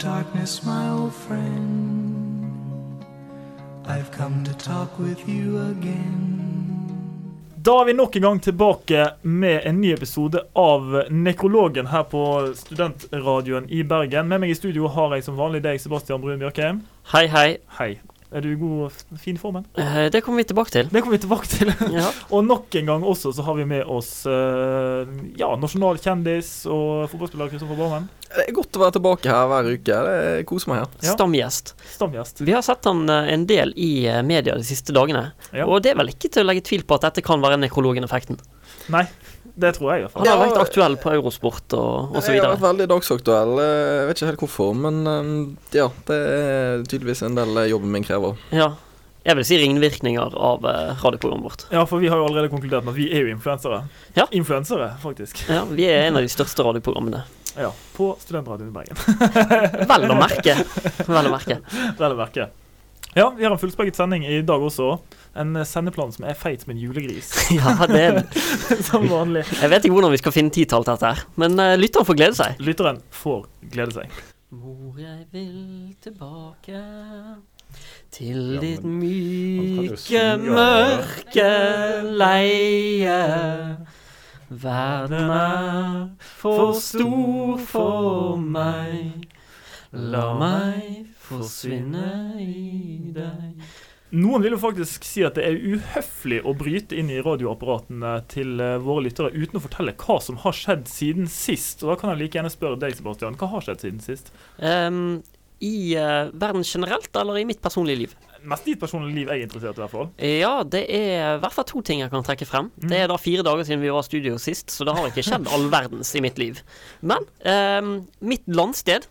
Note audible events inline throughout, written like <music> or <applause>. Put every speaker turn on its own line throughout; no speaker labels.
darkness, my old friend. I've come to talk with you again.
Da er vi nok en gang tilbake med en ny episode av Nekrologen her på Studentradioen i Bergen. Med meg i studio har jeg som vanlig deg, Sebastian Brun Bjørkheim.
Hei, hei.
Hei. Er du i god, f- fin formen?
Eh, Det kommer vi tilbake
<laughs>
til.
Det kommer vi tilbake til.
Ja.
Og nok en gang også så har vi med oss eh, ja, nasjonal kjendis og fotballspiller Kristoffer Barmen.
Det er godt å være tilbake her hver uke. Det koser meg her.
Ja.
Stamgjest.
Stamgjest.
Vi har sett han eh, en del i eh, media de siste dagene.
Ja.
Og det er vel ikke til å legge tvil på at dette kan være nekrologen-effekten.
Nei, det tror jeg i hvert fall.
Han har
Ja,
vært aktuell på Eurosport og osv.
Jeg har vært veldig dagsaktuell. eh, Jeg vet ikke helt hvorfor, men eh, ja. Det er tydeligvis en del eh, jobben min krever.
Ja. Jeg vil si ringvirkninger av eh, radioprogrammet vårt.
Ja, for vi har jo allerede konkludert med at vi er jo influensere.
Ja.
Influensere, faktisk.
Ja, Vi er en av de største radioprogrammene.
Ja, På Studentradioen i Bergen.
Vel å merke. Vel å merke.
Vel å merke. Ja, vi har en fullspekket sending i dag også. En eh, sendeplan som er feit som en julegris,
Ja, det er,
<laughs> som vanlig.
jeg vet ikke hvordan vi skal finne tidtall til dette her, men eh, lytteren får glede seg.
Lytteren får glede seg.
Mor, jeg vil tilbake til
Ja,
ditt
men han kan jo
myke,
synge,
mørke leie. Verden er for stor for meg. La meg forsvinne i deg.
Noen vil jo faktisk si at det er uhøflig å bryte inn i radioapparatene til eh, våre lyttere uten å fortelle hva som har skjedd siden sist. Og da kan jeg like gjerne spørre deg, Sebastian, hva har skjedd siden sist?
Ehm, I eh, verden generelt, eller i mitt personlige liv?
Mest ditt personlige liv jeg er interessert i, i hvert fall. <laughs>
Ja, det er i hvert fall to ting jeg kan trekke frem. Det er da fire dager siden vi var i studio sist, så det har ikke skjedd all verdens i mitt liv. Men ehm, mitt landsted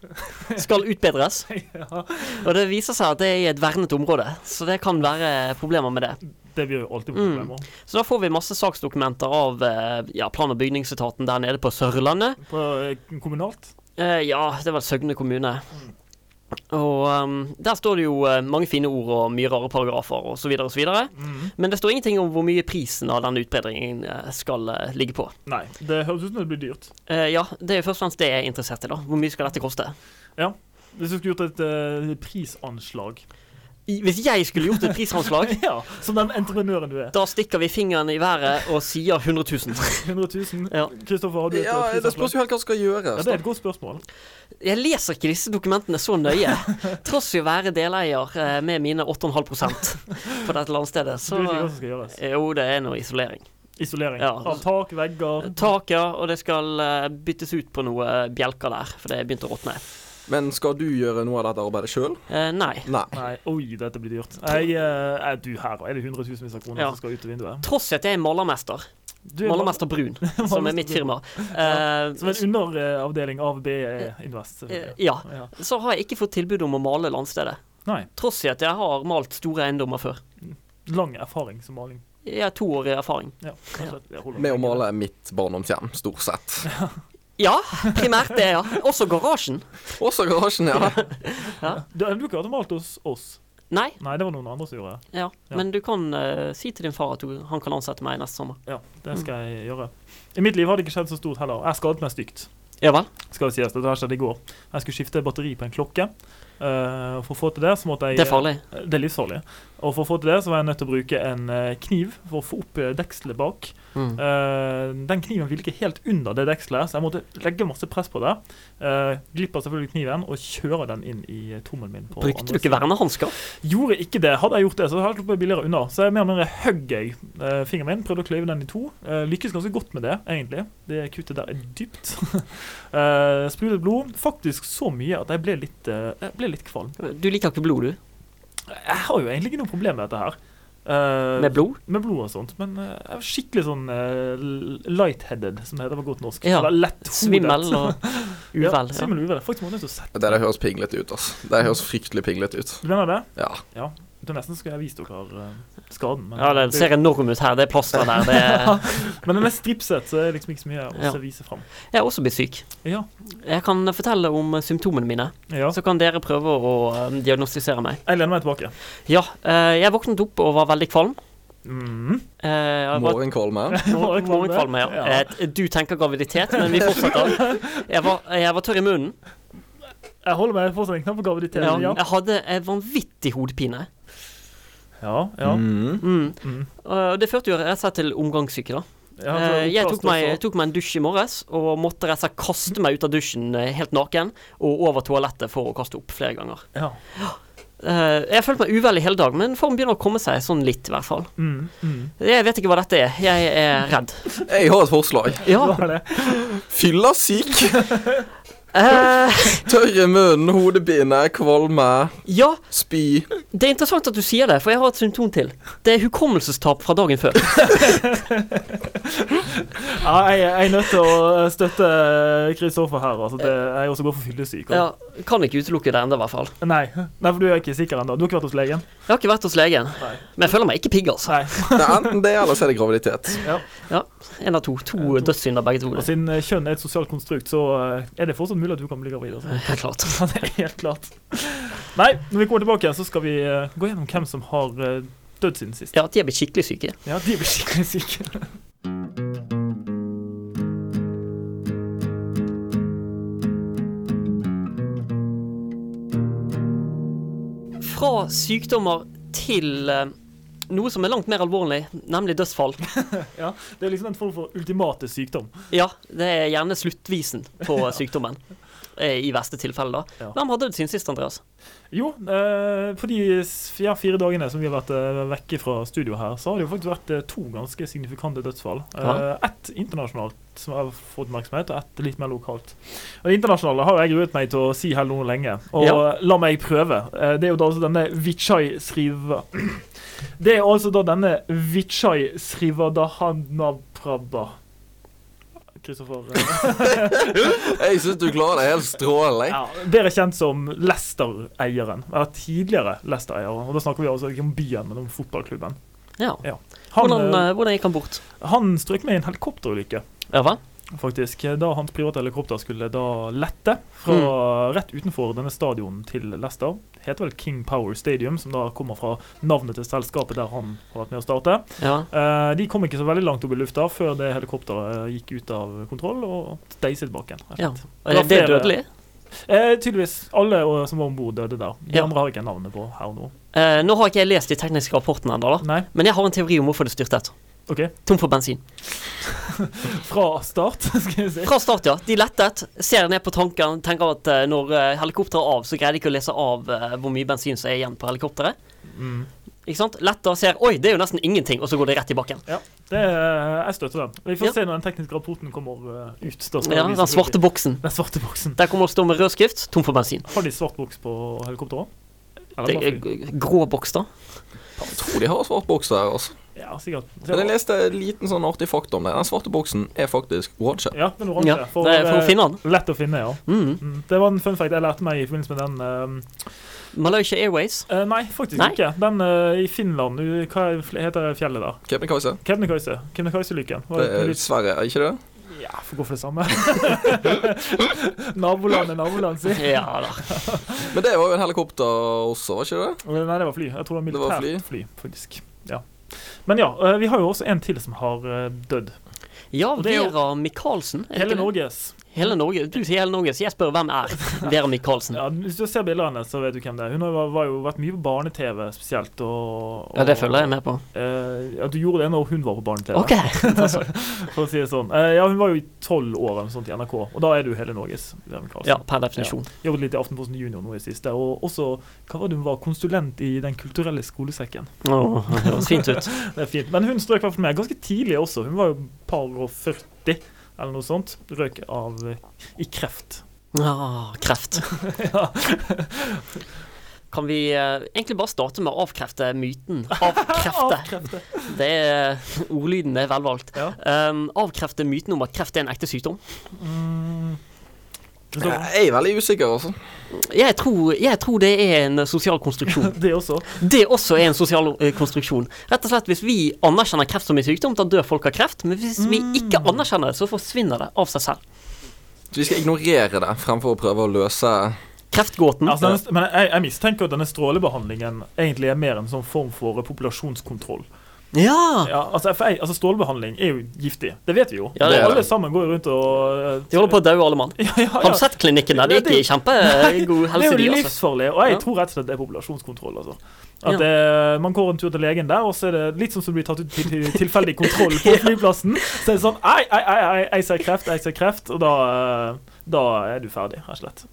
skal utbedres,
Ja,
og det viser seg at det er i et vernet område, så det kan være problemer med det.
det blir jo alltid
Mm.
problemer.
Så da får vi masse saksdokumenter av eh, ja, plan- og bygningsetaten der nede på Sørlandet.
På eh, kommunalt.
Eh, ja, det var Søgne kommune. Og ehm, der står det jo eh, mange fine ord og mye rare paragrafer og så videre og så videre.
Mm.
Men det står ingenting om hvor mye prisen av denne utbedringen eh, skal eh, ligge på.
Nei, det høres ut som det blir dyrt.
Eh, ja, det er jo først og fremst det jeg er interessert i, da. Hvor mye skal dette koste?
Hvis du skulle gjort et eh, prisanslag
I, hvis jeg skulle gjort et
<laughs>
prisanslag,
Ja, som den entreprenøren du er.
da stikker vi fingeren i været og sier 100 000.
100 000.
Ja.
Kristoffer, har du et
Ja,
eh,
Det spørs
prisanslag?
jo helt hva som skal
Ja,
gjøres.
det er et godt spørsmål.
Jeg leser ikke disse dokumentene så nøye, tross i å være deleier eh, med mine 8,5 på dette landstedet.
Du
Så
vet ikke hva som skal gjøres.
eh, jo, det er noe isolering.
Isolering.
Ja.
Av tak, vegger
Tak, ja, og det skal eh, byttes ut på noe eh, bjelker der, for det er begynt å råtne.
Men skal du gjøre noe av dette arbeidet sjøl?
Eh, nei.
Nei.
Nei, oi, dette blir dyrt. Jeg, eh, er du her, og er det hundretusenvis av kroner
Ja.
som skal ut av vinduet?
Tross i at jeg er malermester.
Du er
Malermester
<laughs>
Brun, som er mitt firma. Eh,
som en underavdeling av BE Invest.
eh,
selvfølgelig.
ja.
Ja.
Så har jeg ikke fått tilbud om å male landstedet.
Nei.
Tross i at jeg har malt store eiendommer før.
Lang erfaring som maling.
Jeg har to år i erfaring.
Ja, kanskje det holder.
Med å male mitt barndomshjem, stort sett. <laughs>
Ja, primært det, ja. Også garasjen.
Også garasjen, ja.
Du, du kunne malt hos oss.
Nei,
Nei, det var noen andre som gjorde det.
ja.
Ja.
Men du kan eh, si til din far at du, han kan ansette meg neste sommer.
Ja, det skal jeg gjøre. I mitt liv har det ikke skjedd så stort heller. Jeg skadet meg stygt.
Ja vel?
skal det sies, dette her skjedde i går. Jeg skulle skifte batteri på en klokke. Eh, for å få til det, så måtte jeg eh,
Det er farlig.
Det er livsfarlig. Og for å få til det, så var jeg nødt til å bruke en eh, kniv for å få opp eh, dekselet bak.
Mm.
Eh, den kniven ville ikke helt under det dekselet, så jeg måtte legge masse press på det. Uh, glipper selvfølgelig kniven og kjører den inn i eh, tommelen min. På
Brukte
andre
du ikke
siden.
vernehansker?
Gjorde ikke det. Hadde jeg gjort det, så hadde jeg sluppet billigere unna. Så jeg mer og mer høgg jeg eh, fingeren min, prøvde å kløyve den i to. Eh, lykkes ganske godt med det, egentlig. Det kuttet der er dypt. <laughs> uh, Sprutet blod. Faktisk så mye at jeg ble litt, eh, jeg ble litt kvalm.
Du liker ikke blod, du?
Jeg har jo egentlig ikke noe problem med dette her. Eh,
Med blod?
med blod og sånt, men eh, jeg var skikkelig sånn eh, l- lightheaded, som det heter på godt norsk.
Ja.
Eller letthode.
Svimmel og
<laughs> Ja,
uvel? Ja.
svimmel og uvel. Faktisk må jeg nødt til å sette
Det der høres pinglete ut, altså. Det høres fryktelig pinglete ut.
Du mener det?
Ja.
Det er nesten skulle jeg vist dere eh, skaden. Men,
ja, det ser enorm ut her. Det er plaster der. Det
<laughs>
er...
men den er stripset, så det er liksom ikke så mye å
Ja.
se vise fram.
Jeg er også blitt syk.
Ja.
Jeg kan fortelle om eh, symptomene mine.
ja.
Så kan dere prøve å eh, diagnostisere meg.
Jeg lener meg tilbake.
Ja, eh, jeg våknet opp og var veldig kvalm.
Mm.
Eh, <laughs> jeg var-
Morgenkvalme.
Var det
Mor-
kvalme?
Morgenkvalme, ja.
Ja. <laughs>
Eh, Du tenker graviditet, men vi fortsetter. Jeg var, jeg var tørr i munnen.
Jeg holder meg fortsatt en knapp på graviditet.
Ja,
Ja,
jeg hadde en vanvittig hodepine.
ja. ja.
Mm.
Mm.
Mm.
Og det førte jo rett og slett til omgangssyke, da.
Ja, så
Eh, Jeg tok
oppkast
meg,
også.
tok meg en dusj i morges og måtte rett og slett kaste meg ut av dusjen eh, helt naken og over toalettet for å kaste opp flere ganger.
Ja.
Eh, Jeg har følt meg uvel i hele dag, men formen begynner å komme seg sånn litt, i hvert fall.
Mm. Mm.
Jeg vet ikke hva dette er. Jeg er redd.
Jeg har et forslag.
Ja.
Hva er det?
Fyllesyk.
eh,
Tørre munnen, hodepine, kvalme,
ja,
spy.
det er interessant at du sier det, for jeg har et symptom til. Det er hukommelsestap fra dagen før.
Ja, jeg, jeg er nødt til å eh, støtte Kristoffer her. Altså, det, jeg også går for fyllesyk. og-
Ja, kan ikke utelukke det ennå, i hvert fall.
Nei, nei, for du er ikke sikker ennå. Du har ikke vært hos legen?
Jeg har ikke vært hos legen,
Nei.
men jeg føler meg ikke pigg, altså.
Nei.
Det er enten det, eller så er det graviditet.
En av to. To dødssynder, begge to.
Og
det.
siden eh, kjønn er et sosialt konstrukt, så eh, er det fortsatt mulig at du kan bli gravid. Altså.
Helt klart.
<laughs> Ja, det er helt klart. Nei, når vi kommer tilbake, igjen, så skal vi eh, gå gjennom hvem som har eh, dødd siden sist.
Ja, de er blitt skikkelig syke.
Ja, de blir skikkelig syke. <laughs>
Fra sykdommer til eh, noe som er langt mer alvorlig, nemlig dødsfall.
Det er liksom en form for ultimate sykdom.
Ja, det er gjerne sluttvisen på <laughs> sykdommen. eh, I verste tilfelle, da.
Ja.
Hvem har dødd siden sist, Andreas?
Jo, eh, på de s- ja, fire dagene som vi har vært eh, vekke fra studio her, så har det jo faktisk vært eh, to ganske signifikante dødsfall. Eh,
Ja.
Ett internasjonalt som har fått oppmerksomhet, og ett litt mer lokalt. Og Det internasjonale har jo jeg gruet meg til å si her nå lenge, og
Ja.
la meg prøve. Eh, det er jo da altså denne Vichai Sriva... <clears throat> Det er altså da denne Vichai Srivadahanaprabha. Kristoffer eh,
Jeg syns du klarer det helt strålende.
ja, bedre kjent som Leicester-eieren. Eller tidligere Leicester-eieren. Og da snakker vi altså ikke om byen, men om fotballklubben.
Ja.
Han,
Hvordan,
eh,
eh, hvordan gikk han bort?
han strøk med i en helikopterulykke,
Ja hva?
faktisk. Da hans private helikopter skulle da lette fra
Mm.
rett utenfor denne stadionen til Leicester. Det heter vel King Power Stadium, som da kommer fra navnet til selskapet der han har vært med å starte.
Ja.
Eh, de kom ikke så veldig langt opp i lufta før det helikopteret gikk ut av kontroll og deiset bakken. rett og
Ja.
slett.
Er det, det er
flere-
dødelig?
Eh, tydeligvis. Alle eh, som var om bord, døde der. De
Ja.
andre har jeg ikke navnet på her nå.
Eh, nå har ikke jeg lest de tekniske rapportene ennå, da.
Nei,
Men jeg har en teori om hvorfor det styrtet.
OK.
Tom for bensin.
Fra start, <laughs> skal jeg si.
Fra start, ja. De lettet, ser ned på tanken, tenker at eh, når eh, helikopteret er av, så greier de ikke å lese av eh, hvor mye bensin som er igjen på helikopteret.
Mm.
Ikke sant? Letter, ser Oi, det er jo nesten ingenting, og så går det rett i bakken.
Det, eh, jeg støtter den. Vi får
Ja.
se når den tekniske rapporten kommer eh, ut. Da skal
Ja,
vi
Den svarte
selvfølgelig-
boksen.
den svarte boksen.
Der kommer det å stå med rød skrift, tom for bensin.
Har de svart boks på helikopteret? Eller
Det
bare
er
fly?
g- grå boks, da.
Jeg tror de har svart boks her, altså.
Ja, sikkert.
Men jeg leste en liten sånn artig fakta om det. Den svarte boksen er faktisk oransje.
Ja, den
Ja,
oransje.
det er for å
eh,
finne den.
Lett å finne, ja.
Mm.
Mm. Det var en fun fact jeg lærte meg i forbindelse med den. eh,
Malaysia
<laughs>
Airways.
eh, nei, faktisk
Nei.
ikke. Den eh, i Finland, u- hva er fl- heter fjellet der?
Kebnekaise.
Kebnekaise. Kebnekaise-lykken. Var
Det
det-
er Sverige, er ikke det?
Ja, Ah, får gå for det samme. <laughs> naboland er naboland, si.
Ja da.
Men det var jo en helikopter også, var ikke det?
Nei, det var fly. Jeg tror det var
Det var
militært fly. faktisk. Ja. Men ja, eh, vi har jo også en til som har eh, dødd.
Ja,
Og det er jo-
Vera Michaelsen. er det
Hele
ikke det?
Norges.
Hele Norge. Du sier hele Norge, så jeg spør hvem er Vera Michaelsen.
Ja, hvis du ser bildene hennes, så vet du hvem det er. Hun har var- var jo vært mye på barne-TV spesielt. Og, og,
Ja, det følger jeg med på.
Eh, ja, du gjorde det når hun var på barne-TV,
<laughs> OK.
for å si det sånn. Eh, ja, hun var jo i tolv år eller noe sånt i NRK, og da er du hele Norges. Vera Michaelsen.
Ja, per definisjon.
Jobbet litt i Aftenposten Junior nå i siste, og også hva var det hun var konsulent i Den kulturelle skolesekken.
Åh, det høres fint ut.
Det er fint. Men hun strøk i hvert fall med ganske tidlig også. Hun var jo par og 40 eller noe sånt. Røk av eh, i kreft.
Ah, <laughs> kreft.
Ja.
Kan vi eh, egentlig bare starte med å avkrefte myten? <laughs> Avkrefte.
Krefte.
Det er, ordlyden er velvalgt.
Ja.
Um, avkrefte myten om at kreft er en ekte sykdom.
Mm. Kristoffer?
Jeg er veldig usikker, altså.
Jeg tror, jeg tror det er en sosial konstruksjon.
Det også.
Det også er en sosial eh, konstruksjon. Rett og slett, Hvis vi anerkjenner kreft som en sykdom, da dør folk av kreft. Men hvis vi
Mm.
ikke anerkjenner det, så forsvinner det av seg selv.
Vi skal ignorere det fremfor å prøve å løse
Kreftgåten.
Altså, denne, men jeg, jeg mistenker at denne strålebehandlingen egentlig er mer en sånn form for populasjonskontroll.
Ja!
Ja, altså, FA, altså Stålbehandling er jo giftig. Det vet vi jo.
Ja, det er
alle
det.
sammen går jo rundt og eh,
De holder på å daue, alle mann.
<laughs> ja, ja, ja.
Har du sett klinikken der? De
Ja, det-
gikk i kjempegod
<laughs> Det
helse,
er
de,
jo
altså.
livsfarlig, og jeg
Ja.
tror rett og slett det er populasjonskontroll. altså. At
Ja.
det, Man går en tur til legen der, og så er det litt sånn som som blir tatt ut til til- tilfeldig kontroll
<laughs>
på flyplassen. Så er det sånn Ei, ei, ei, ei, jeg ser kreft, jeg ser kreft. Og da, eh, da er du ferdig, rett og slett.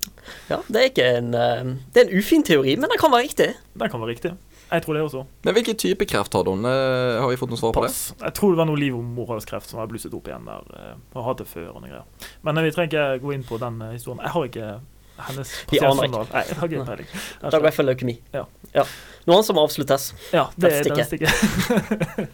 Ja, det er ikke en eh, Det er en ufin teori, men den kan være riktig.
Den kan være riktig. Jeg tror det også.
Men hvilken type kreft har hun? Eh, Har vi fått noe svar på det?
Pass. Jeg tror det var noe livmorhalskreft som har blusset opp igjen der. eh, Og hatt det før og noe greier. Men eh, vi trenger ikke gå inn på den eh, historien. Jeg har ikke hennes
Vi aner ikke.
pasientjournal. Nei, jeg har ikke peiling.
Da går jeg for leukemi.
Ja.
Noe annet som avsluttes.
Ja, det er
Dette
den stikker.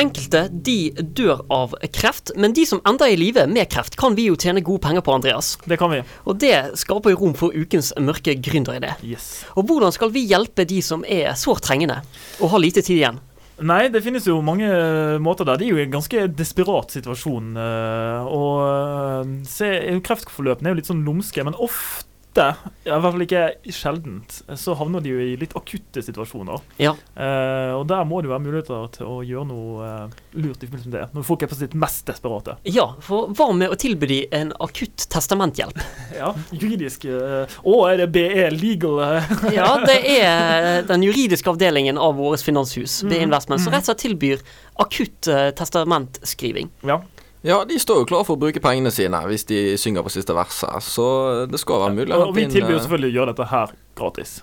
Enkelte de dør av kreft, men de som ender i live med kreft, kan vi jo tjene gode penger på, Andreas.
Det kan vi.
Og det skaper jo rom for ukens mørke gründeridé.
Yes.
Og hvordan skal vi hjelpe de som er sårt trengende og har lite tid igjen?
Nei, det finnes jo mange eh, måter der. De er jo i en ganske desperat situasjon. eh, Og eh, se, kreftforløpene er jo litt sånn lumske, men ofte ja, I hvert fall ikke sjeldent. Så havner de jo i litt akutte situasjoner.
Ja.
Eh, og der må det jo være muligheter til å gjøre noe eh, lurt i forbindelse med det. Når folk er på sitt mest desperate.
ja, for hva med å tilby de en akutt testamenthjelp?
Ja, Juridisk eh, Å, er det BE legal? eh?
<laughs> Ja, det er den juridiske avdelingen av vårt finanshus, BI Investment, som rett og slett tilbyr akutt eh, testamentskriving.
<laughs> <laughs> ja.
Ja, de står jo klar for å bruke pengene sine hvis de synger på siste verset, så eh, det skal være mulig. å
Og vi
hente inn,
tilbyr jo
eh,
selvfølgelig å gjøre dette her gratis.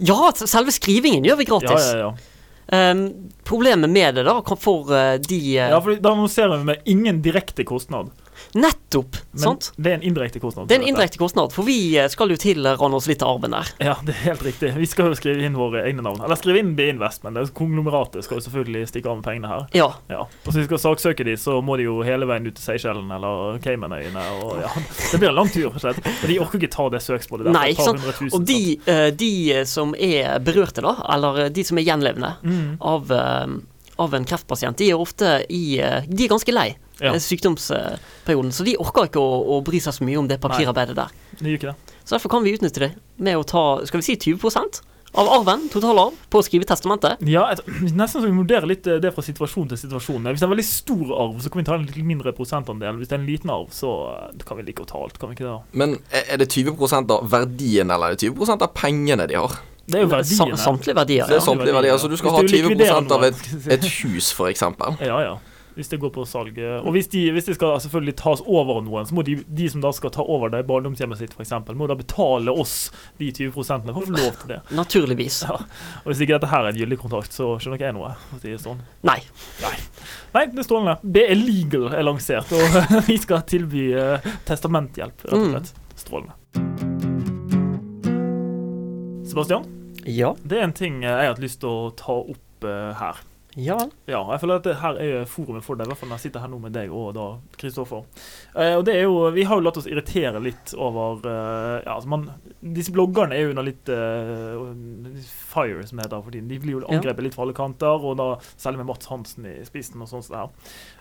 Ja, s- selve skrivingen gjør vi
Ja,
gratis.
ja, ja.
Ehm, problemet med det, da, kan- for eh, de eh,
ja for da annonserer vi med ingen direkte kostnad.
Nettopp!
Men
sant?
det er en indirekte kostnad.
Det er en
til dette.
indirekte kostnad, for vi eh, skal jo til eh, Randers litt av arven der.
Ja, det er helt riktig. Vi skal jo skrive inn våre egne navn. Eller skrive inn B-Invest, men det er konglomeratet skal jo selvfølgelig stikke av med pengene her.
Ja.
Ja. Og så vi skal saksøke de, så må de jo hele veien ut til Seychellene eller Caymanøyene. Og ja, det blir en lang tur, rett og slett. Og de orker ikke ta det søksmålet der.
Nei,
for et
ikke sant.
par hundre tusen,
Og de,
sant?
eh, de som er berørte, da, eller eh, de som er gjenlevende
Mm.
av, eh, av en kreftpasient, de er ofte i eh, De er ganske lei
Ja.
eh, sykdomsperioden, så de orker ikke å, å bry seg så mye om det papirarbeidet der.
Det gjør ikke det.
Så derfor kan vi utnytte det med å ta skal vi si 20 av arven, totalarv, på å skrive testamentet.
Ja, et, nesten så vi vurderer litt eh, det fra situasjon til situasjon. Hvis det er en veldig stor arv, så kan vi ta en litt mindre prosentandel. Hvis det er en liten arv, så eh, kan vi like godt ta alt, kan vi ikke det? da?
Men er er det 20 av verdien, eller er det 20 av pengene de har?
Det er jo
Sam-
verdiene.
Samtlige verdier.
Det er
Ja.
sånn det er verdier. Så du skal ha
Hvis du
20
likviderer noe,
av et,
skal vi si.
et hus, for eksempel.
Ja, ja. Hvis det går på salg. eh, Og hvis de, hvis de skal selvfølgelig tas over av noen, så må de, de som da skal ta over det barndomshjemmet sitt, for eksempel, må da betale oss de 20 for å få lov til det.
Naturligvis.
Ja. Og hvis ikke dette her er en gyldig kontrakt, så skjønner ikke jeg noe. for å si det sånn.
Nei.
Nei, det er strålende. Det er legal er lansert, og <laughs> vi skal tilby eh, testamenthjelp, rett og
Mm.
slett. Strålende. Sebastian,
Ja.
det er en ting eh, jeg har hatt lyst til å ta opp eh, her.
Ja vel.
Ja, jeg føler at det her er forumet for deg, i hvert fall når jeg sitter her nå med deg og da Kristoffer. Eh, og det er jo, Vi har jo latt oss irritere litt over eh, ja, altså man, Disse bloggerne er jo under litt eh, fire, som det heter for tiden. De blir jo
Ja.
angrepet litt fra alle kanter, og da særlig med Mats Hansen i spissen. og sånt der.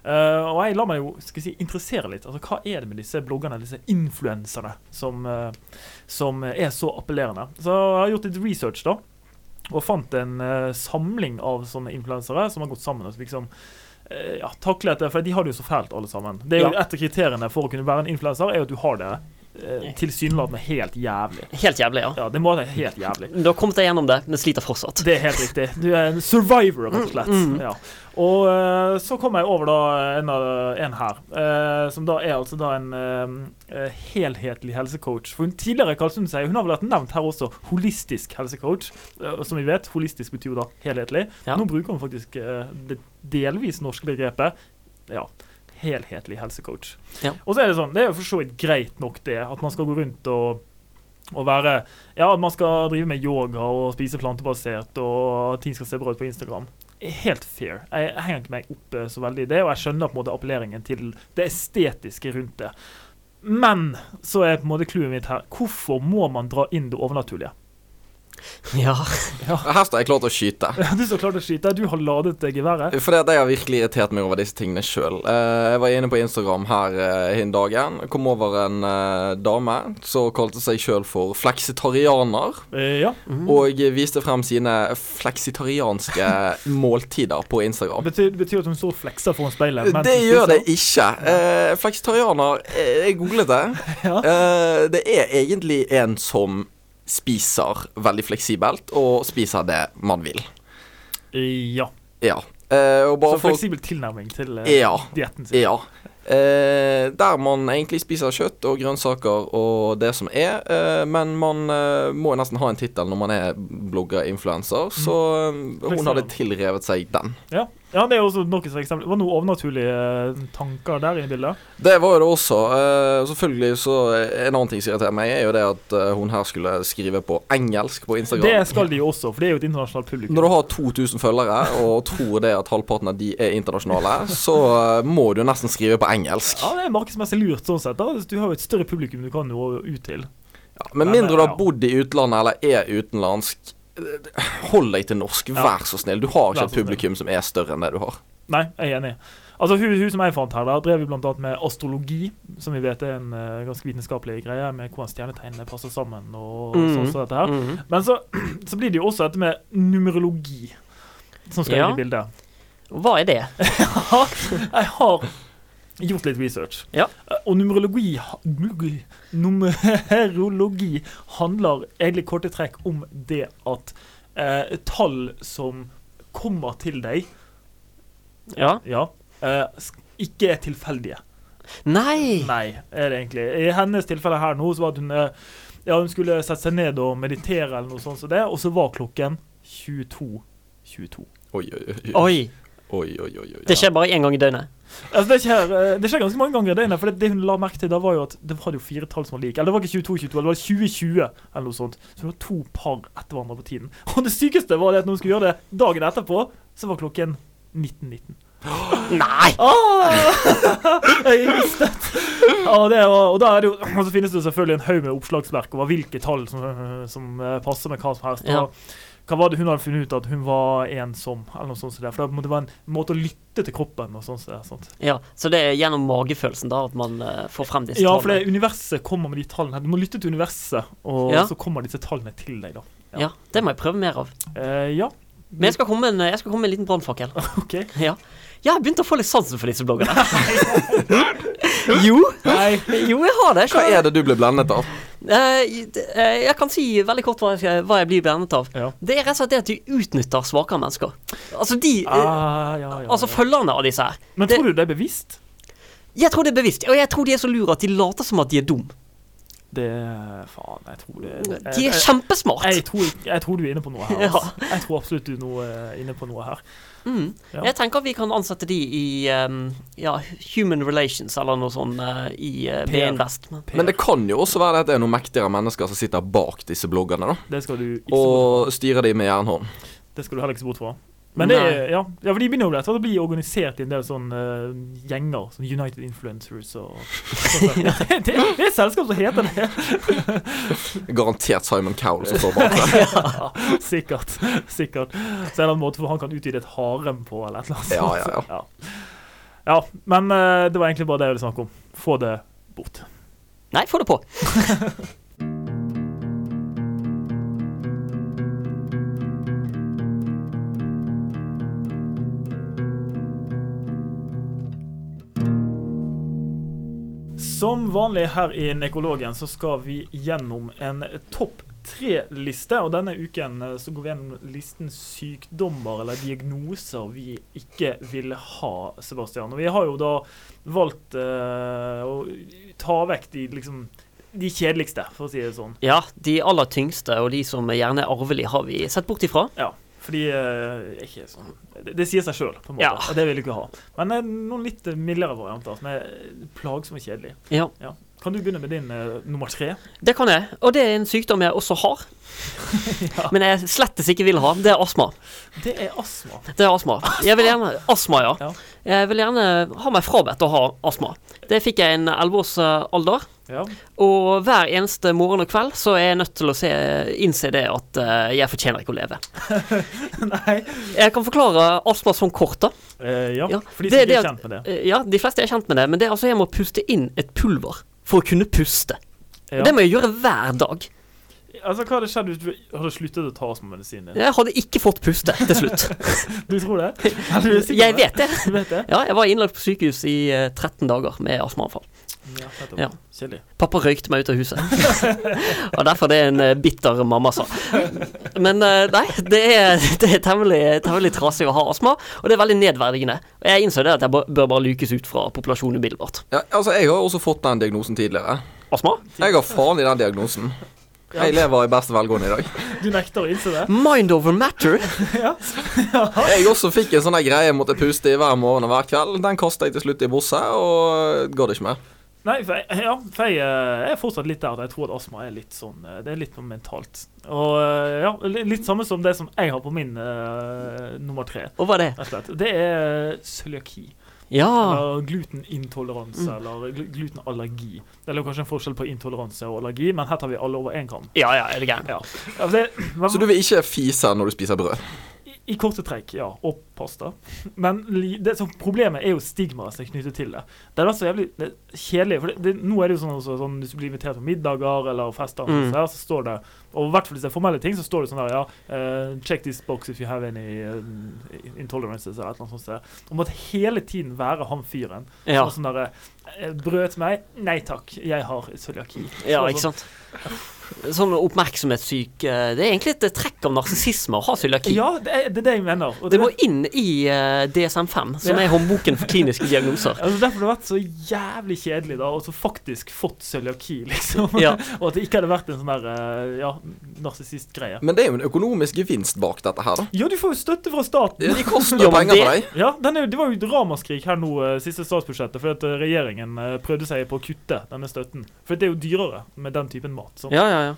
Eh, og jeg lar meg jo skal jeg si, interessere litt. Altså, Hva er det med disse bloggerne, disse influenserne, som, eh, som er så appellerende? Så jeg har gjort litt research, da og fant en eh, samling av sånne influensere som har gått sammen og liksom eh, ja, taklet det, for de har det jo så fælt alle sammen. Det er jo
Ja.
Et av kriteriene for å kunne være en influenser er jo at du har det uh, tilsynelatende helt jævlig.
Helt jævlig, ja.
Ja, det må være helt jævlig.
Du har kommet deg gjennom det, men sliter fortsatt.
Det er helt riktig. Du er en survivor, rett og slett.
Mm, mm.
Ja. Og eh, så kom jeg over da eh, en, av, en her, eh, som da er altså da en eh, helhetlig helsecoach. For hun tidligere kalte hun seg, hun har vel vært nevnt her også, holistisk helsecoach. Eh, som vi vet, holistisk betyr jo da helhetlig.
Ja.
Nå bruker hun faktisk eh, det delvis norske begrepet. Ja. Helhetlig helsecoach.
Ja.
Og så er det sånn, det er jo for så vidt greit nok, det. At man skal gå rundt og, og være ja, at man skal drive med yoga og spise plantebasert, og at ting skal se bra ut på Instagram. Helt fair. Jeg henger ikke meg opp eh, så veldig i det, og jeg skjønner på en måte appelleringen til det estetiske rundt det. Men så er på en måte clouet mitt her hvorfor må man dra inn det overnaturlige? <laughs>
Ja.
Her står jeg klar til å skyte.
Du står klar til å skyte. Du har ladet det geværet.
For det, at jeg har virkelig irritert meg over disse tingene sjøl. jeg var inne på Instagram her eh, hin dagen. Kom over en eh, dame som kalte seg sjøl for fleksitarianer.
Eh, ja.
Og viste frem sine fleksitarianske måltider på Instagram.
Betyr, betyr at hun står og flekser foran speilet. mens
Det
hun
gjør det
spiser.
ikke. Eh, fleksitarianer eh, Jeg googlet det.
<laughs> Ja.
Eh, det er egentlig en som spiser veldig fleksibelt, og spiser det man vil.
Ja.
Ja. Eh, og
Så
bare for å
fleksibel tilnærming til uh,
Ja.
dietten sin.
Ja. Eh, der man egentlig spiser kjøtt og grønnsaker og det som er, eh, men man eh, må nesten ha en tittel når man er blogger-influencer, så eh,
Mm. Fleksibel.
hun hadde tilrevet seg den.
Ja. ja, det er også noe som eksempel. Det var noen overnaturlige eh, tanker der inne i bildet.
Det var jo det også. Eh, selvfølgelig så eh, En annen ting som irriterer meg, er jo det at eh, hun her skulle skrive på engelsk på
Det
Instagram.
skal de jo også, for det er jo et internasjonalt publikum.
Når du har 2000 følgere og tror det at halvparten av de er internasjonale, så eh, må du nesten skrive på engelsk.
Ja, det er markedsmessig lurt sånn sett. da Du har jo et større publikum du kan nå ut til.
Ja, med
Nei, men,
mindre du har
ja.
bodd i utlandet eller er utenlandsk, hold deg til norsk,
Ja.
vær så snill. Du har
Vær så
ikke et publikum som er større enn det du har.
Nei, jeg er enig. Altså, hun, hun som jeg fant her, da, drev jo blant annet med astrologi, som vi vet er en eh, ganske vitenskapelig greie, med hvordan stjernetegnene passer sammen og sånn som dette her.
Mhm.
Men så, <clears throat> så blir det jo også dette med numerologi som skal
Ja.
inn i bildet.
Hva er det?
Jeg har gjort litt research,
Ja.
Eh, og numerologi ha- numerologi- Numerologi handler egentlig i korte trekk om det at eh, tall som kommer til deg
Ja.
Ja. eh, sk- ikke er tilfeldige.
Nei!
Nei, er det egentlig. I hennes tilfelle her nå, så var det hun eh, Ja, hun skulle sette seg ned og meditere eller noe sånt som det, og så var klokken 22.22.
Oi, oi, oi. oi,
Oi.
oi, oi, oi, oi.
Det skjer bare én gang i døgnet.
Altså, det skjer, eh, det skjer ganske mange ganger i døgnet, for det, det hun la merke til da, var jo at det var jo fire tall som var like. Eller det var ikke 22.22, eller det var 2020, eller noe sånt. Så det var to par etter hverandre på tiden. Og det sykeste var det at når hun skulle gjøre det dagen etterpå, så var klokken 19.19.
Nei!
Åh! Jeg mistet. Ja, det var, og, da er det jo, <clears throat> og så finnes det jo selvfølgelig en haug med oppslagsverk over hvilke tall som, som eh, passer med hva som helst.
Ja.
Og Hva var det hun hadde funnet ut at hun var ensom? eller noe sånt som det, For det måtte være en måte å lytte til kroppen og sånn. som det, sant?
Ja, Så det er gjennom magefølelsen da at man eh, får frem disse
Ja, for
tallene?
det universet kommer med de tallene. her. Du må lytte til universet, og
Ja.
så kommer disse tallene til deg, da.
ja. det må jeg prøve mer av.
Eh, ja,
Men jeg skal komme med en, jeg skal komme med en liten brannfakkel.
<laughs> OK.
Ja. Jeg har begynt å få litt sansen for disse
<laughs>
bloggerne. jo,
Nei.
jo, jeg har det.
Hva er det du ble blendet av?
Eh, eh, jeg kan si veldig kort hva jeg, hva jeg blir blendet av.
Ja.
Det er rett og slett det at de utnytter svakere mennesker. Altså de eh,
Ah, ja, ja,
Altså
ja.
følgerne av disse her.
Men
det-
tror du det er bevisst?
Jeg tror det er bevisst, og jeg tror de er så lure at de later som at de er dum.
Det Faen, jeg tror det
De er kjempesmart.
Jeg tror, jeg tror du er inne på noe her.
Ja.
Altså. Jeg tror absolutt du er noe, eh, inne på noe her.
Mm.
Ja.
Jeg tenker vi kan ansette de i ehm, ja, Human Relations eller noe sånt eh, i uh,
Per.
B-Invest. Men-
Men det kan jo også være at det er noen mektigere mennesker som sitter bak disse bloggerne, da.
Det skal du, ikke se bort
Og styrer de med jernhånd.
fra. det skal du heller ikke se bort fra. Men det er,
Nei.
ja. ja, for de begynner jo etter hvert å bli organisert i en del sånne eh, gjenger. Sånn United Influencers
<laughs>
og <laughs> sånn. det, det, det er et selskap som heter det.
Garantert Simon Cowell som står
<laughs>
bak det.
Ja, sikkert. <laughs> sikkert. Så en eller annen måte for han kan utvide et harem på, eller et eller annet.
Ja, ja, ja.
ja. Ja, men eh, det var egentlig bare det jeg ville snakke om. Få det bort.
Nei, få det på.
Som vanlig her i Nekologen så skal vi gjennom en topp tre-liste. Og denne uken eh, så går vi gjennom listen sykdommer eller diagnoser vi ikke vil ha, Sebastian. Og vi har jo da valgt eh, å ta vekk de liksom de kjedeligste, for å si det sånn.
Ja, de aller tyngste og de som gjerne er arvelige, har vi sett bort ifra.
Ja, fordi eh, er ikke sånn. det, det sier seg sjøl, på en måte.
Ja.
eh, Og det vil du ikke ha. Men eh, noen litt mildere varianter som er plagsomme og kjedelige.
Ja.
Ja. Kan du begynne med din eh, nummer tre?
Det kan jeg, og det er en sykdom jeg også <laughs> har. Men jeg slettes ikke vil ha. Det er astma.
Det er astma.
Det er astma. Jeg vil gjerne, astma ja.
Ja.
Jeg vil gjerne ha meg frabedt å ha astma. Det fikk jeg i en elleveårsalder. <laughs>
Ja.
Og hver eneste morgen og kveld så er jeg nødt til å se, innse det at eh, jeg fortjener ikke å leve.
Nei.
Jeg kan forklare astma som kort, da.
Eh, ja.
Ja,
for de
det
som ikke
er
er
det at-
kjent med det.
Eh, Ja, de fleste er kjent med det, men det er altså jeg må puste inn et pulver for å kunne puste.
Ja.
Det må jeg gjøre hver dag.
Altså, Hva hadde skjedd hvis du hadde sluttet å ta astmamedisinen din?
Jeg hadde ikke fått puste til slutt.
Du tror
<laughs>
det? Er <laughs> du sikker
Jeg
på det?
vet det.
Du vet det?
Ja, jeg var innlagt på sykehus i eh, 13 dager med astmaanfall.
Ja, nettopp.
Ja.
Kjedelig.
Pappa røykte meg ut av
<laughs>
huset. og derfor det er en eh, bitter mamma sa. Men eh, nei, det er, <laughs> det er temmelig, temmelig trasig å ha astma, og det er veldig nedverdigende. Og jeg innså det at jeg bør- bør bare lukes ut fra populasjonen umiddelbart.
Ja, altså, jeg har også fått den diagnosen tidligere.
Astma?
Jeg har faen i den diagnosen. Jeg lever i beste velgående i dag.
Du nekter å innse det?
Mind over matter?
Jeg også fikk en sånn der greie jeg måtte puste i hver morgen og hver kveld. Den kasta jeg til slutt i bosset, og går det ikke mer.
Nei, for jeg, ja, for jeg, eh, jeg er fortsatt litt der at jeg tror at astma er litt sånn eh, Det er litt noe mentalt. Og eh, ja, li- litt samme som det som jeg har på min eh, nummer tre.
Og hva er det?
rett og slett. Det er eh, cøliaki.
Ah.
Ja.
Eller glutenintoleranse,
Mm.
eller gl- glutenallergi. Det er jo kanskje en forskjell på intoleranse og allergi, men her tar vi alle over én kam.
Ja ja, er du gæren.
Ja. Ja, Det, <clears throat>
Så du vil ikke fise når du spiser brød?
i, I korte trekk, ja. Og pasta. Men li- det som problemet er jo stigmaet som er knyttet til det. Det er da så jævlig det er kjedelig. For det, det, nå er det jo sånn, også, sånn hvis du blir invitert på middager eller fester, og
Mm.
sånn her, så står det Og i hvert fall hvis det er formelle ting, så står det sånn der ja, eh, Check this box if you have any eh, intolerances eller et eller annet sånt. der. Om at hele tiden være han fyren.
Ja,
Og sånn derre eh, Brød til meg? Nei takk, jeg har cøliaki.
ja
Så-
ikke sant? Sånn oppmerksomhetssyk eh, Det er egentlig et trekk av narsissisme å ha cøliaki.
Ja, det er det, er det jeg mener. Og
Det
er-
må inn i eh, DSM-5, som
Ja.
er håndboken for kliniske
<laughs>
diagnoser.
Altså Derfor det har vært så jævlig kjedelig da, og så faktisk fått cøliaki, liksom.
Ja.
<laughs> og at det ikke hadde vært en sånn der eh, ja, narsissist-greie.
Men det er jo en økonomisk gevinst bak dette her, da.
Ja, du får jo støtte fra staten!
De
<laughs>
koster
Ja, men
penger
det-
på deg.
<laughs> Ja, den er, jo- Det var jo ramaskrik her nå, eh, siste statsbudsjettet, fordi at eh, regjeringen eh, prøvde seg på å kutte denne støtten. For det er jo dyrere med den typen mat. sant?
Ja, ja, ja.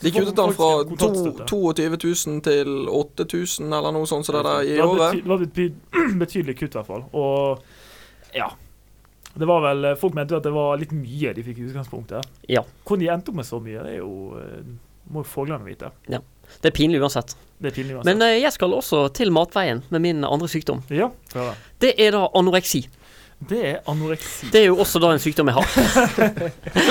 De kuttet den
Folk
fra
skal ha kontantstøtte.
22 000 til 8000 eller noe sånt som det der i
Det var
året.
bety- Det var et bety- <clears throat> betydelig kutt, i hvert fall. Og ja. Det var vel, eh, Folk mente jo at det var litt mye de fikk i utgangspunktet.
Ja.
Hvor de endte opp med så mye, det er jo eh, må jo fuglene vite.
Det er pinlig uansett.
Det er pinlig uansett.
Men eh, jeg skal også til matveien med min andre sykdom.
Ja, få høre.
Det er da anoreksi.
Det er anoreksi.
Det er jo også da en sykdom jeg har.
<laughs>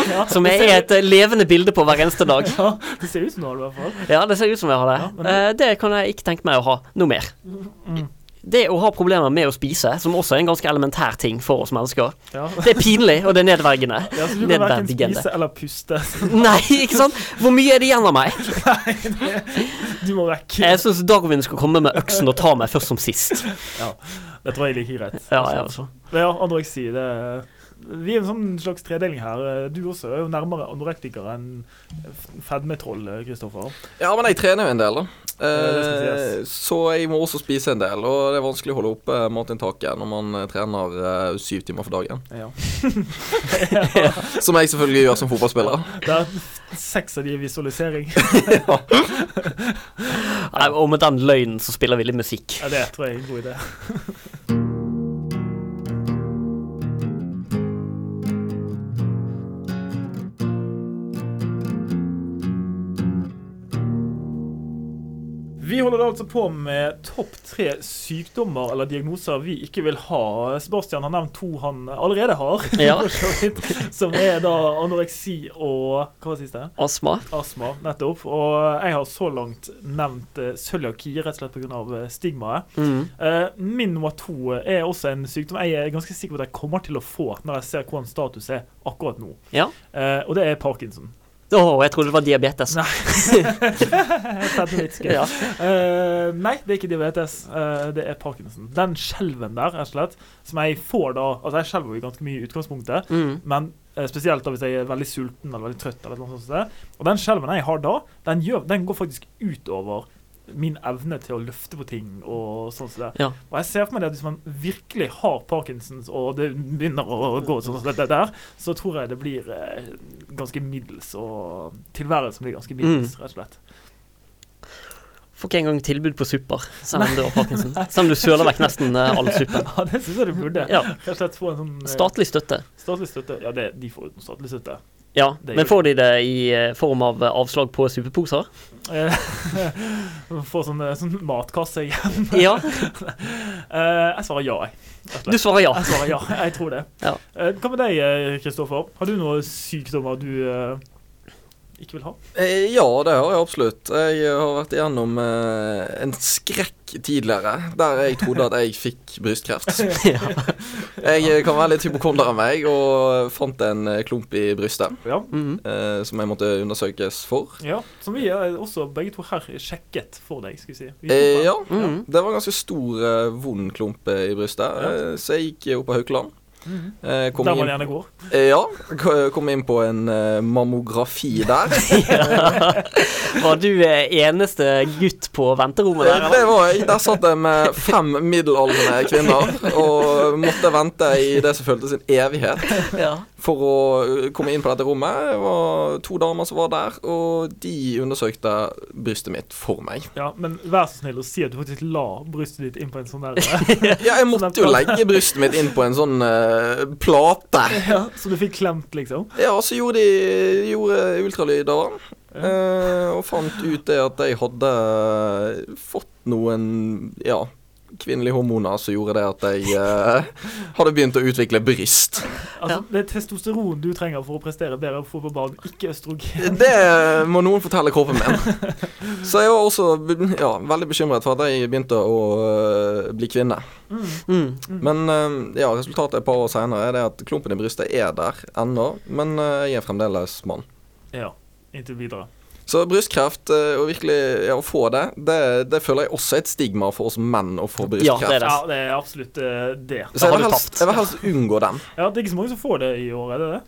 Ja,
Som
det
jeg
ser-
er et eh, levende bilde på hver eneste dag.
ja, Det ser ut som du har det, i hvert fall.
Ja, det ser ut som jeg har det.
Ja, men-
Eh, det kan jeg ikke tenke meg å ha noe mer.
Mm.
Det å ha problemer med å spise, som også er en ganske elementær ting for oss mennesker,
Ja.
det er pinlig, og det er nedverdigende.
Ja, så du kan verken
Nedverdigende.
spise eller puste. <laughs>
Nei, ikke sant? Hvor mye er det igjen av meg?
Du må vekk.
Jeg syns Darwin skal komme med øksen og ta meg først som sist.
Det tror jeg ligger greit.
Ja, ja, altså.
Men ja, anoreksi, det er Vi er en sånn slags tredeling her. Du også er jo nærmere anorektiker enn f- fedmetroll, eh, Kristoffer.
Ja, men jeg trener jo en del, da.
Ja, det skal
Eh,
sies.
så jeg må også spise en del, og det er vanskelig å holde oppe eh, matinntaket når man eh, trener eh, syv timer for dagen.
Ja.
Som jeg selvfølgelig gjør som fotballspiller.
Det er seks av de i visualisering.
Nei, Og med den løgnen så spiller vi litt musikk.
Ja, det tror jeg er en god idé. Vi holder altså på med topp tre sykdommer eller diagnoser vi ikke vil ha. Sebastian har nevnt to han allerede har,
Ja.
<laughs> for så vidt, som er da anoreksi og Hva var det siste?
Astma.
astma, nettopp. Og jeg har så langt nevnt eh, cøliaki, rett og slett pga. eh, stigmaet.
Mm.
Eh, Min nummer to er også en sykdom jeg er ganske sikker på at jeg kommer til å få når jeg ser hvordan status er akkurat nå.
Ja.
Eh, Og det er parkinson.
Å, jeg trodde det var diabetes.
Nei. Jeg setter litt skudd.
Ja.
Eh, nei, det er ikke diabetes. Eh, det er parkinson. Den skjelven der, rett og slett, som jeg får da Altså, jeg skjelver jo ganske mye i utgangspunktet,
Mm.
men eh, spesielt da hvis jeg er veldig sulten eller veldig trøtt. eller noe sånt som det. Og den skjelven jeg har da, den, gjør, den går faktisk utover min evne til å løfte på ting og sånn som det.
Ja.
Og jeg ser for meg det at hvis man virkelig har Parkinsons, og det begynner å gå sånn som det der, så tror jeg det blir eh, ganske middels, og tilværelsen blir ganske middels, rett og slett.
Får ikke engang tilbud på supper, selv om du <laughs> har parkinson. Selv om du søler vekk nesten eh, all suppen.
Ja, det syns jeg du burde.
Ja.
Rett og slett få en sånn eh,
Statlig støtte.
statlig støtte. Ja, det, de får jo statlig støtte.
Ja,
Det
men
gjør
får de det i eh, form av eh, avslag på suppeposer?
Eh, <laughs> Få sånn, eh, sånn matkasse igjen.
<laughs> Ja,
Eh, Jeg svarer ja, jeg. Rett og slett.
du svarer ja.
Jeg svarer ja, jeg tror det.
Ja.
Eh, Hva med deg, eh, Kristoffer? Har du noen sykdommer du eh, ikke vil ha?
Eh, Ja, det har jeg absolutt. Jeg har vært igjennom eh, en skrekk tidligere der jeg trodde at jeg fikk <laughs> brystkreft.
Ja.
Jeg eh, kan være litt hypokonder av meg og fant en eh, klump i brystet
Ja.
Mhm.
eh, som jeg måtte undersøkes for.
ja. Som vi eh, også begge to her sjekket for deg, skal vi si. Vi
Eh, ja.
Mhm.
Det var en ganske stor, eh, vond klump eh, i brystet, eh, så jeg gikk opp på Haukeland.
Mhm.
Eh, kom
Der
inn-
man gjerne går.
Eh, Ja, k- kom inn på en eh, mammografi der.
Var du eh, eneste gutt på venterommet der?
Eh, <laughs> Det var jeg. Der satt jeg med fem middelaldrende kvinner og måtte vente i det som føltes en evighet
eller? Ja.
for å eh, komme inn på dette rommet. Det var to damer som var der, og de undersøkte brystet mitt for meg.
<laughs> Ja, men vær så snill å si at du faktisk la brystet ditt inn på en sånn
<laughs>
der eh,
Ja, jeg måtte jo legge brystet mitt inn på en sånn eh, plate.
ja, Så du fikk klemt, liksom?
Ja, og så gjorde de gjorde ultralyd av den. eh, og fant ut det at jeg hadde eh, fått noen ja, kvinnelige hormoner som gjorde det at jeg eh, hadde begynt å utvikle bryst.
Altså, Det er testosteron du trenger for å prestere bedre og få på barn, ikke østrogen.
Det må noen fortelle kroppen min. Så jeg var også ja, veldig bekymret for at jeg begynte å eh, bli kvinne.
Mm.
Men eh, ja, resultatet et par år senere er det at klumpen i brystet er der ennå, men eh, jeg er fremdeles mann.
Ja. Inntil videre.
Så brystkreft, eh, og virkelig ja, å få det, det, det føler jeg også er et stigma for oss menn å få
Ja, det er
brystkreft.
det.
Ja, det er absolutt eh, det.
Da
Så jeg
har
vil,
du
helst,
tapt.
jeg vil helst unngå den.
Ja, Det er ikke så mange som får det i år, er det det?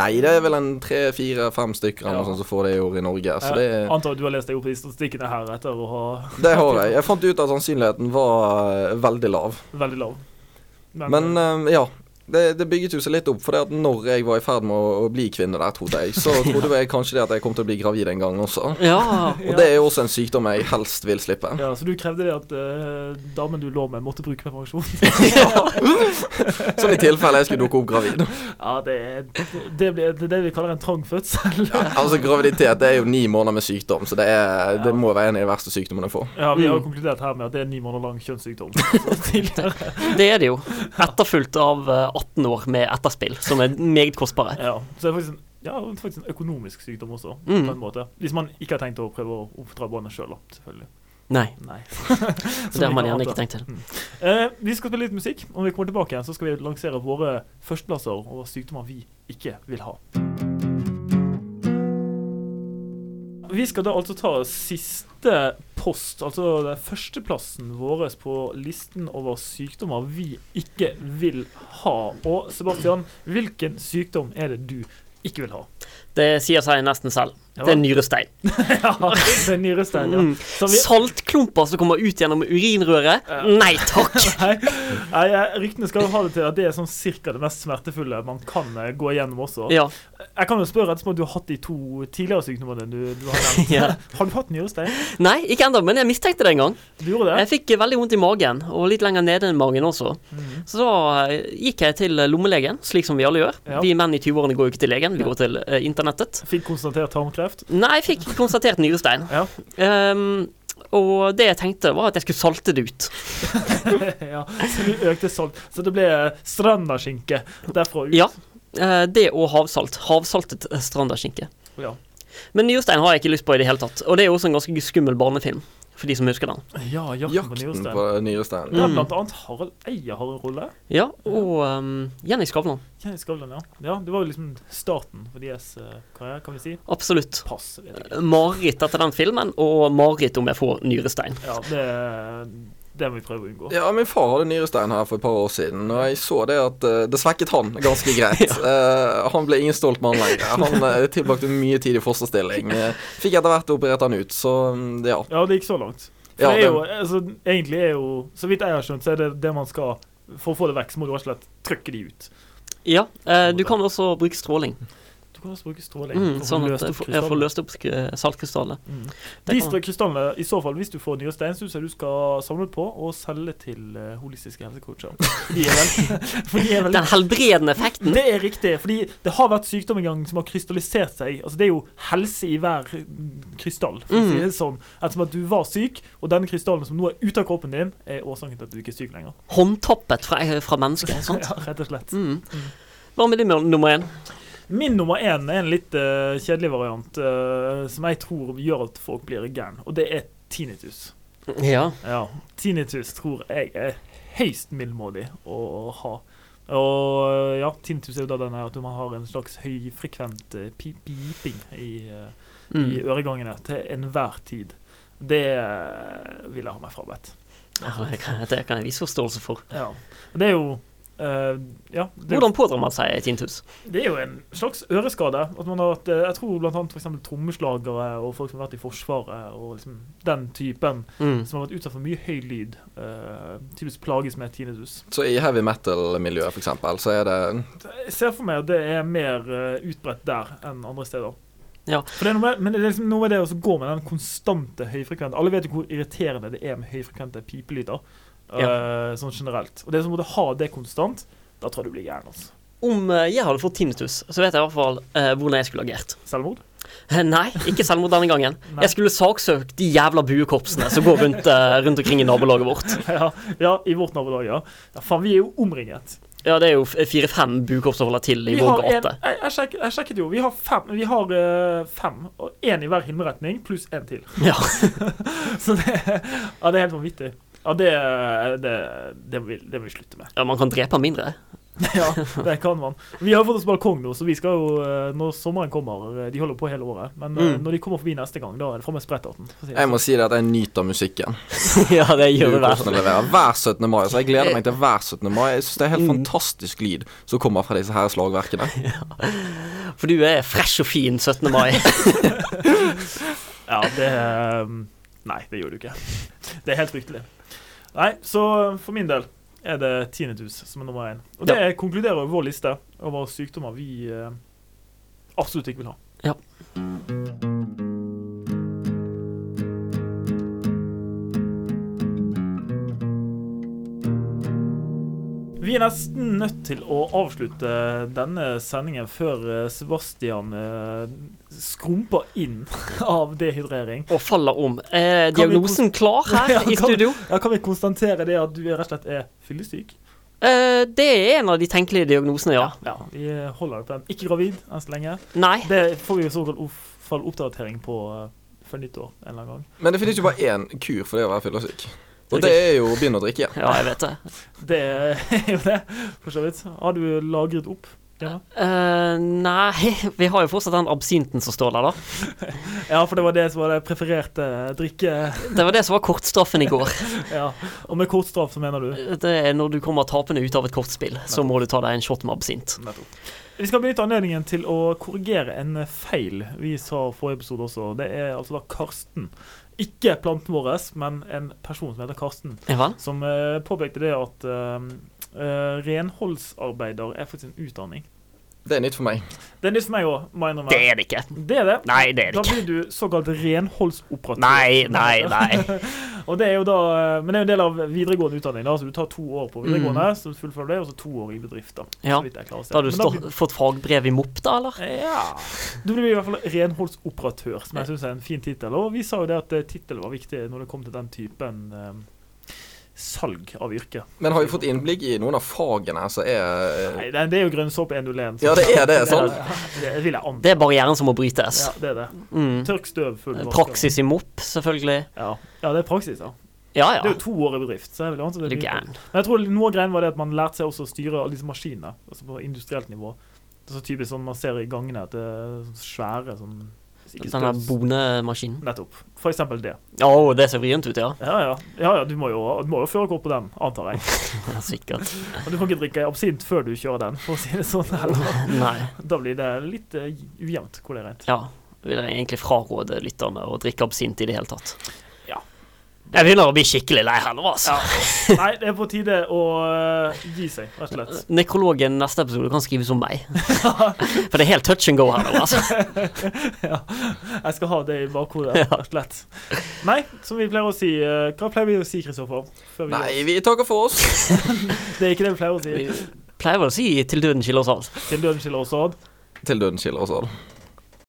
Nei, det er vel en tre-fire-fem stykker eller noe
Ja.
sånt som får det i år i Norge. Så Altså, det,
Jeg antar at du har lest deg opp i statistikkene her etter å ha
det har jeg. Jeg fant ut at sannsynligheten var eh, veldig lav.
veldig lav.
Men eh, ja. Det, det bygget jo seg litt opp, for det at når jeg var i ferd med å, å bli kvinne der, trodde jeg,
<laughs>
så trodde jeg kanskje det at jeg kom til å bli gravid en gang også.
Ja.
eh, Og det er jo også en sykdom jeg helst vil slippe.
<laughs>
ja, Så du krevde det at eh, damen du lå med, måtte bruke prevensjon?
<laughs> Sånn i tilfelle jeg skulle dukke opp gravid.
ja, det, er- det, blir- det er det vi kaller en trang fødsel.
Ja, <laughs> altså Graviditet det er jo ni måneder med sykdom, så det, er, det må være en av de verste sykdommene å få.
<laughs> Ja, vi har jo
Mm.
konkludert her med at det er en ni måneder lang <laughs> kjønnssykdom. Så tidligere.
Det er det jo. Etterfulgt av eh, 18 år med etterspill, som er meget kostbare.
Ja, så det er faktisk en, ja, det er faktisk en økonomisk sykdom også,
Mm.
på en måte. Hvis man ikke har tenkt å prøve å oppdra barna sjøl, da. Selvfølgelig.
Nei,
Nei.
det har man gjerne ikke tenkt til.
Eh, vi skal spille litt musikk. og Når vi kommer tilbake, igjen, så skal vi lansere våre førsteplasser over sykdommer vi ikke vil ha. Vi skal da altså ta siste post, altså den førsteplassen vår på listen over sykdommer vi ikke vil ha. Og Sebastian, hvilken sykdom er det du ikke vil ha?
Det sier seg nesten selv.
Ja.
Det er nyrestein.
<laughs> Ja, det er nyrestein, ja.
Mm.
Som vi
Saltklumper som kommer ut gjennom urinrøret. Nei takk!
Nei, nei, jeg- ryktene skal jo ha det til at det er sånn cirka det mest smertefulle man kan eh, gå igjennom også.
Ja.
Jeg kan jo spørre ettersom at du har hatt de to tidligere sykdommene du, du har nevnt.
<laughs> Ja.
Har du hatt nyrestein?
Nei, ikke ennå, men jeg mistenkte det en gang.
Du gjorde
Jeg
det?
fikk eh, veldig vondt i magen, og litt lenger nede enn magen også.
Mm.
Så da eh, gikk jeg til eh, lommelegen, slik som vi alle gjør.
Ja.
Vi menn i 20-årene går jo ikke til legen, vi går til eh, internettet.
Fikk konstatert tarmkreft?
Nei, jeg fikk konstatert nyrestein.
Ja. <laughs>
Ehm, og det jeg tenkte, var at jeg skulle salte det ut.
ja. Så du økte salt. Så det ble eh, strandaskinke derfra ut?
Ja. eh, Det og havsalt. Havsaltet eh, strandaskinke.
Ja.
Men Nyrstein har jeg ikke lyst på i det hele tatt. Og det er jo også en ganske skummel barnefilm, for de som husker den.
ja jakten på
Jakten
nyrestein.
på nyrestein.
Der
Mm.
blant annet Harald Eia har en rolle.
Ja, og ehm, Jenny Skavlan.
Jenny Skavlan, ja. ja. Det var jo liksom starten for deres eh, karriere, kan vi si.
Absolutt.
Pass, vet jeg ikke.
Mareritt etter den filmen, og mareritt om jeg får nyrestein.
Ja, det, eh, Det må vi prøve å unngå.
Ja, min far hadde nyrestein her for et par år siden, og jeg så det at eh, det svekket han ganske
<laughs>
greit. Eh, han ble ingen stolt mann lenger. Han eh, tilbrakte mye tid i fosterstilling. Eh, fikk etter hvert operert han ut, så mm, ja.
Ja, det gikk så langt. For
Ja,
det er jo,
det-
altså, egentlig er jo Så vidt jeg har skjønt, så er det det man skal For å få det vekk, så må du rett og slett trykke de ut.
Ja, eh, du kan også bruke stråling,
Du kan også bruke stråling. for å
mm,
få
sånn
løst
at jeg
opp
får- jeg får
krystallene.
løst opp eh, saltkrystallene.
Mm.
Det
De
kan-
stra- krystallene, i så fall, hvis du får nye steinsuser du skal samle på og selge til eh, holistiske helsecoacher. De er vel, <laughs> for de er vel
Den helbredende effekten. <laughs>
Det er riktig, fordi det har vært sykdom en gang som har krystallisert seg. Altså Det er jo helse i hver mm, krystall. For å si det sånn Ettersom at du var syk, og denne krystallen som nå er ute av kroppen din, er årsaken til at du ikke er syk lenger.
Håndtappet fra, eh, fra mennesket.
<laughs>
sant?
Ja, rett og slett.
Mm. Hva med din nummer én?
Min nummer én er en litt eh, kjedelig variant eh, som jeg tror gjør at folk blir gæren, og det er tinnitus.
Ja.
Ja, tinnitus tror jeg er høyst middelmådig å ha. Og eh, ja, tinnitus er jo da den her at man har en slags høyfrekvent eh, pip- piping i, eh, i
Mm.
øregangene til enhver tid. Det eh, vil jeg ha meg frabedt.
ja det, kan, det kan jeg vise forståelse for.
Ja. Det er jo eh, ja, det,
Hvordan pådrar man seg tinnitus?
det er jo en slags øreskade. At man har hatt, eh, jeg tror blant annet for eksempel trommeslagere og folk som har vært i Forsvaret og liksom den typen
Mm.
som har vært utsatt for mye høy lyd, eh, tydeligvis plages med tinnitus.
Så i heavy metal-miljøet, for eksempel, så er det
Jeg ser for meg at det er mer eh, utbredt der enn andre steder.
Ja.
For det er noe med, men det er liksom noe med det å gå med den konstante høyfrekvente Alle vet jo hvor irriterende det er med høyfrekvente pipelyder eh, sånn generelt. Og det som måtte ha det konstant, da tror jeg du blir gæren. altså.
Om eh, jeg hadde fått tinnitus, så vet jeg i hvert fall eh, hvordan jeg skulle agert. <laughs>
Selvmord?
Eh, Nei, ikke selvmord denne gangen.
<laughs> Nei.
Jeg skulle saksøkt de jævla buekorpsene som går rundt, eh, rundt omkring i nabolaget vårt.
ja, ja, i vårt nabolag, ja. ja. Faen, vi er jo omringet.
Ja, det er jo f- fire-fem buekorps som holder til i
Vi
vår
har en,
gate.
jeg, jeg, sjekket, jeg sjekket jo. Vi har fem, vi har, eh, fem og én i hver himmelretning pluss én til. <laughs>
Ja.
Så det, ja, det er helt vanvittig. Ja, det, det, det, vil, det må vi slutte med.
ja, man kan drepe mindre.
Ja, det kan man. Vi har fått oss balkong nå, så vi skal jo eh, Når sommeren kommer eh, De holder på hele året. Men eh,
Mm.
når de kommer forbi neste gang, da er det fram med spretterten. for å si det
Jeg må si det at jeg nyter musikken.
<laughs> ja, det gjør det
Hvordan
der.
det leverer. Hver 17. mai. Så jeg gleder meg til hver 17. mai. Jeg syns det er helt fantastisk lyd som kommer fra disse her slagverkene.
For du er fresh og fin 17. mai. <laughs>
sånn. Ja, det eh, Nei, det gjør du ikke. Det er helt fryktelig. Nei, så for min del er det tinnitus som er nummer én. Og det konkluderer vår liste over sykdommer vi eh, absolutt ikke vil ha. Vi er nesten nødt til å avslutte denne sendingen før eh, Sebastian eh, skrumper inn <laughs> av dehydrering.
Og faller om. Er
Kan vi
diagnosen klar <laughs>
Ja,
her
kan-
i studio?
Ja, Kan vi konstatere det at du er rett og slett er fyllesyk?
Eh, det er en av de tenkelige diagnosene, ja.
Ja, Vi holder det på den. Ikke gravid enn så lenge.
Nei.
Det får vi i så fall off- fall oppdatering på eh, før nyttår en eller annen gang.
Men det finnes jo bare én kur for det å være fyllesyk. Og det er jo å begynne å drikke igjen.
Ja, jeg vet det.
Det er <laughs> jo det, for så vidt. Har du lagret opp? Ja.
Eh, nei, <laughs> vi har jo fortsatt den absinten som står der, da.
ja, for det var det som var det prefererte eh, drikke...
Det var det som var kortstraffen i går.
Ja. Og med kort straff, så mener du?
Det er når du kommer tapende ut av et kortspill, så må du ta deg en shot med absint.
Vi skal benytte anledningen til å korrigere en eh, feil vi sa forrige episode også. Det er altså da Karsten. Ikke planten vår, men en person som heter Karsten,
Ja vel?
som eh, påpekte det at eh, eh, renholdsarbeider er faktisk en utdanning.
Det er nytt for meg.
Det er nytt for meg òg, må jeg
Det
innrømme.
er det ikke.
Det er det.
Nei, det er
Da
det
blir du såkalt renholdsoperatør.
Nei,
<laughs>
nei, nei.
Og det er jo da, eh, men det er jo en del av videregående utdanning. da, så Du tar to år på videregående, så fullfører du det, og så to år i bedrift. da.
Mm. Ja.
Så vidt jeg klarer å se.
Da har du
Men blir- Eh,
stå- fått fagbrev i MOP, da, eller?
Ja. Du blir i hvert fall renholdsoperatør, som jeg syns er en fin tittel. Og vi sa jo det at eh, tittel var viktig når det kom til den typen eh, salg av yrke.
Men har vi fått innblikk i noen av fagene som er eh,
Nei, det det er jo grønnsåpe 101.
Ja, det
<laughs>
er det, sånn.
Det vil jeg anta.
Det er barrieren som må brytes.
Ja, det er det.
Mm.
Tørk støv full vaske.
Praksis i MOP, selvfølgelig.
Ja. ja, det er praksis, ja.
Ja
Det
ja.
er jo to år i bedrift. så jeg vil anta det
Er
er
du
mye.
gæren?
Men jeg tror noe av greien var det at man lærte seg også å styre alle disse maskinene, altså på industrielt nivå. Det er så typisk sånn man ser i gangene, at det er sånn svære sånn Ikke
Denne
spøs.
bonemaskinen.
Nettopp. For eksempel det.
Å, det ser vrient ut, ja.
Ja ja, ja, ja du, må jo, du må jo føre kort på den, antar
<laughs>
jeg.
Ja, Sikkert.
<laughs> Og du kan ikke drikke absint før du kjører den, for å si det sånn. Heller.
Nei.
Da blir det litt eh, ujevnt hvor det er rent.
Ja. Vil jeg egentlig fraråde lytterne å drikke absint i det hele tatt.
Ja.
Jeg begynner å bli skikkelig lei her nå, altså.
Nei, det er på tide å eh, gi seg, rett og
<laughs>
slett.
Nekrologen neste episode kan skrives om
<laughs>
meg. For det er helt touch and go her nå, altså.
ja. Jeg skal ha det i bakhodet, rett og slett. Nei, som vi pleier å si eh, Hva pleier vi å si, Kristoffer? Før vi gir
Nei, vi takker for oss.
oss? Det er ikke det vi pleier å si.
Vi pleier vel å si 'til døden skiller oss alt'.
Til døden skiller oss ad.
Til døden skiller oss alle.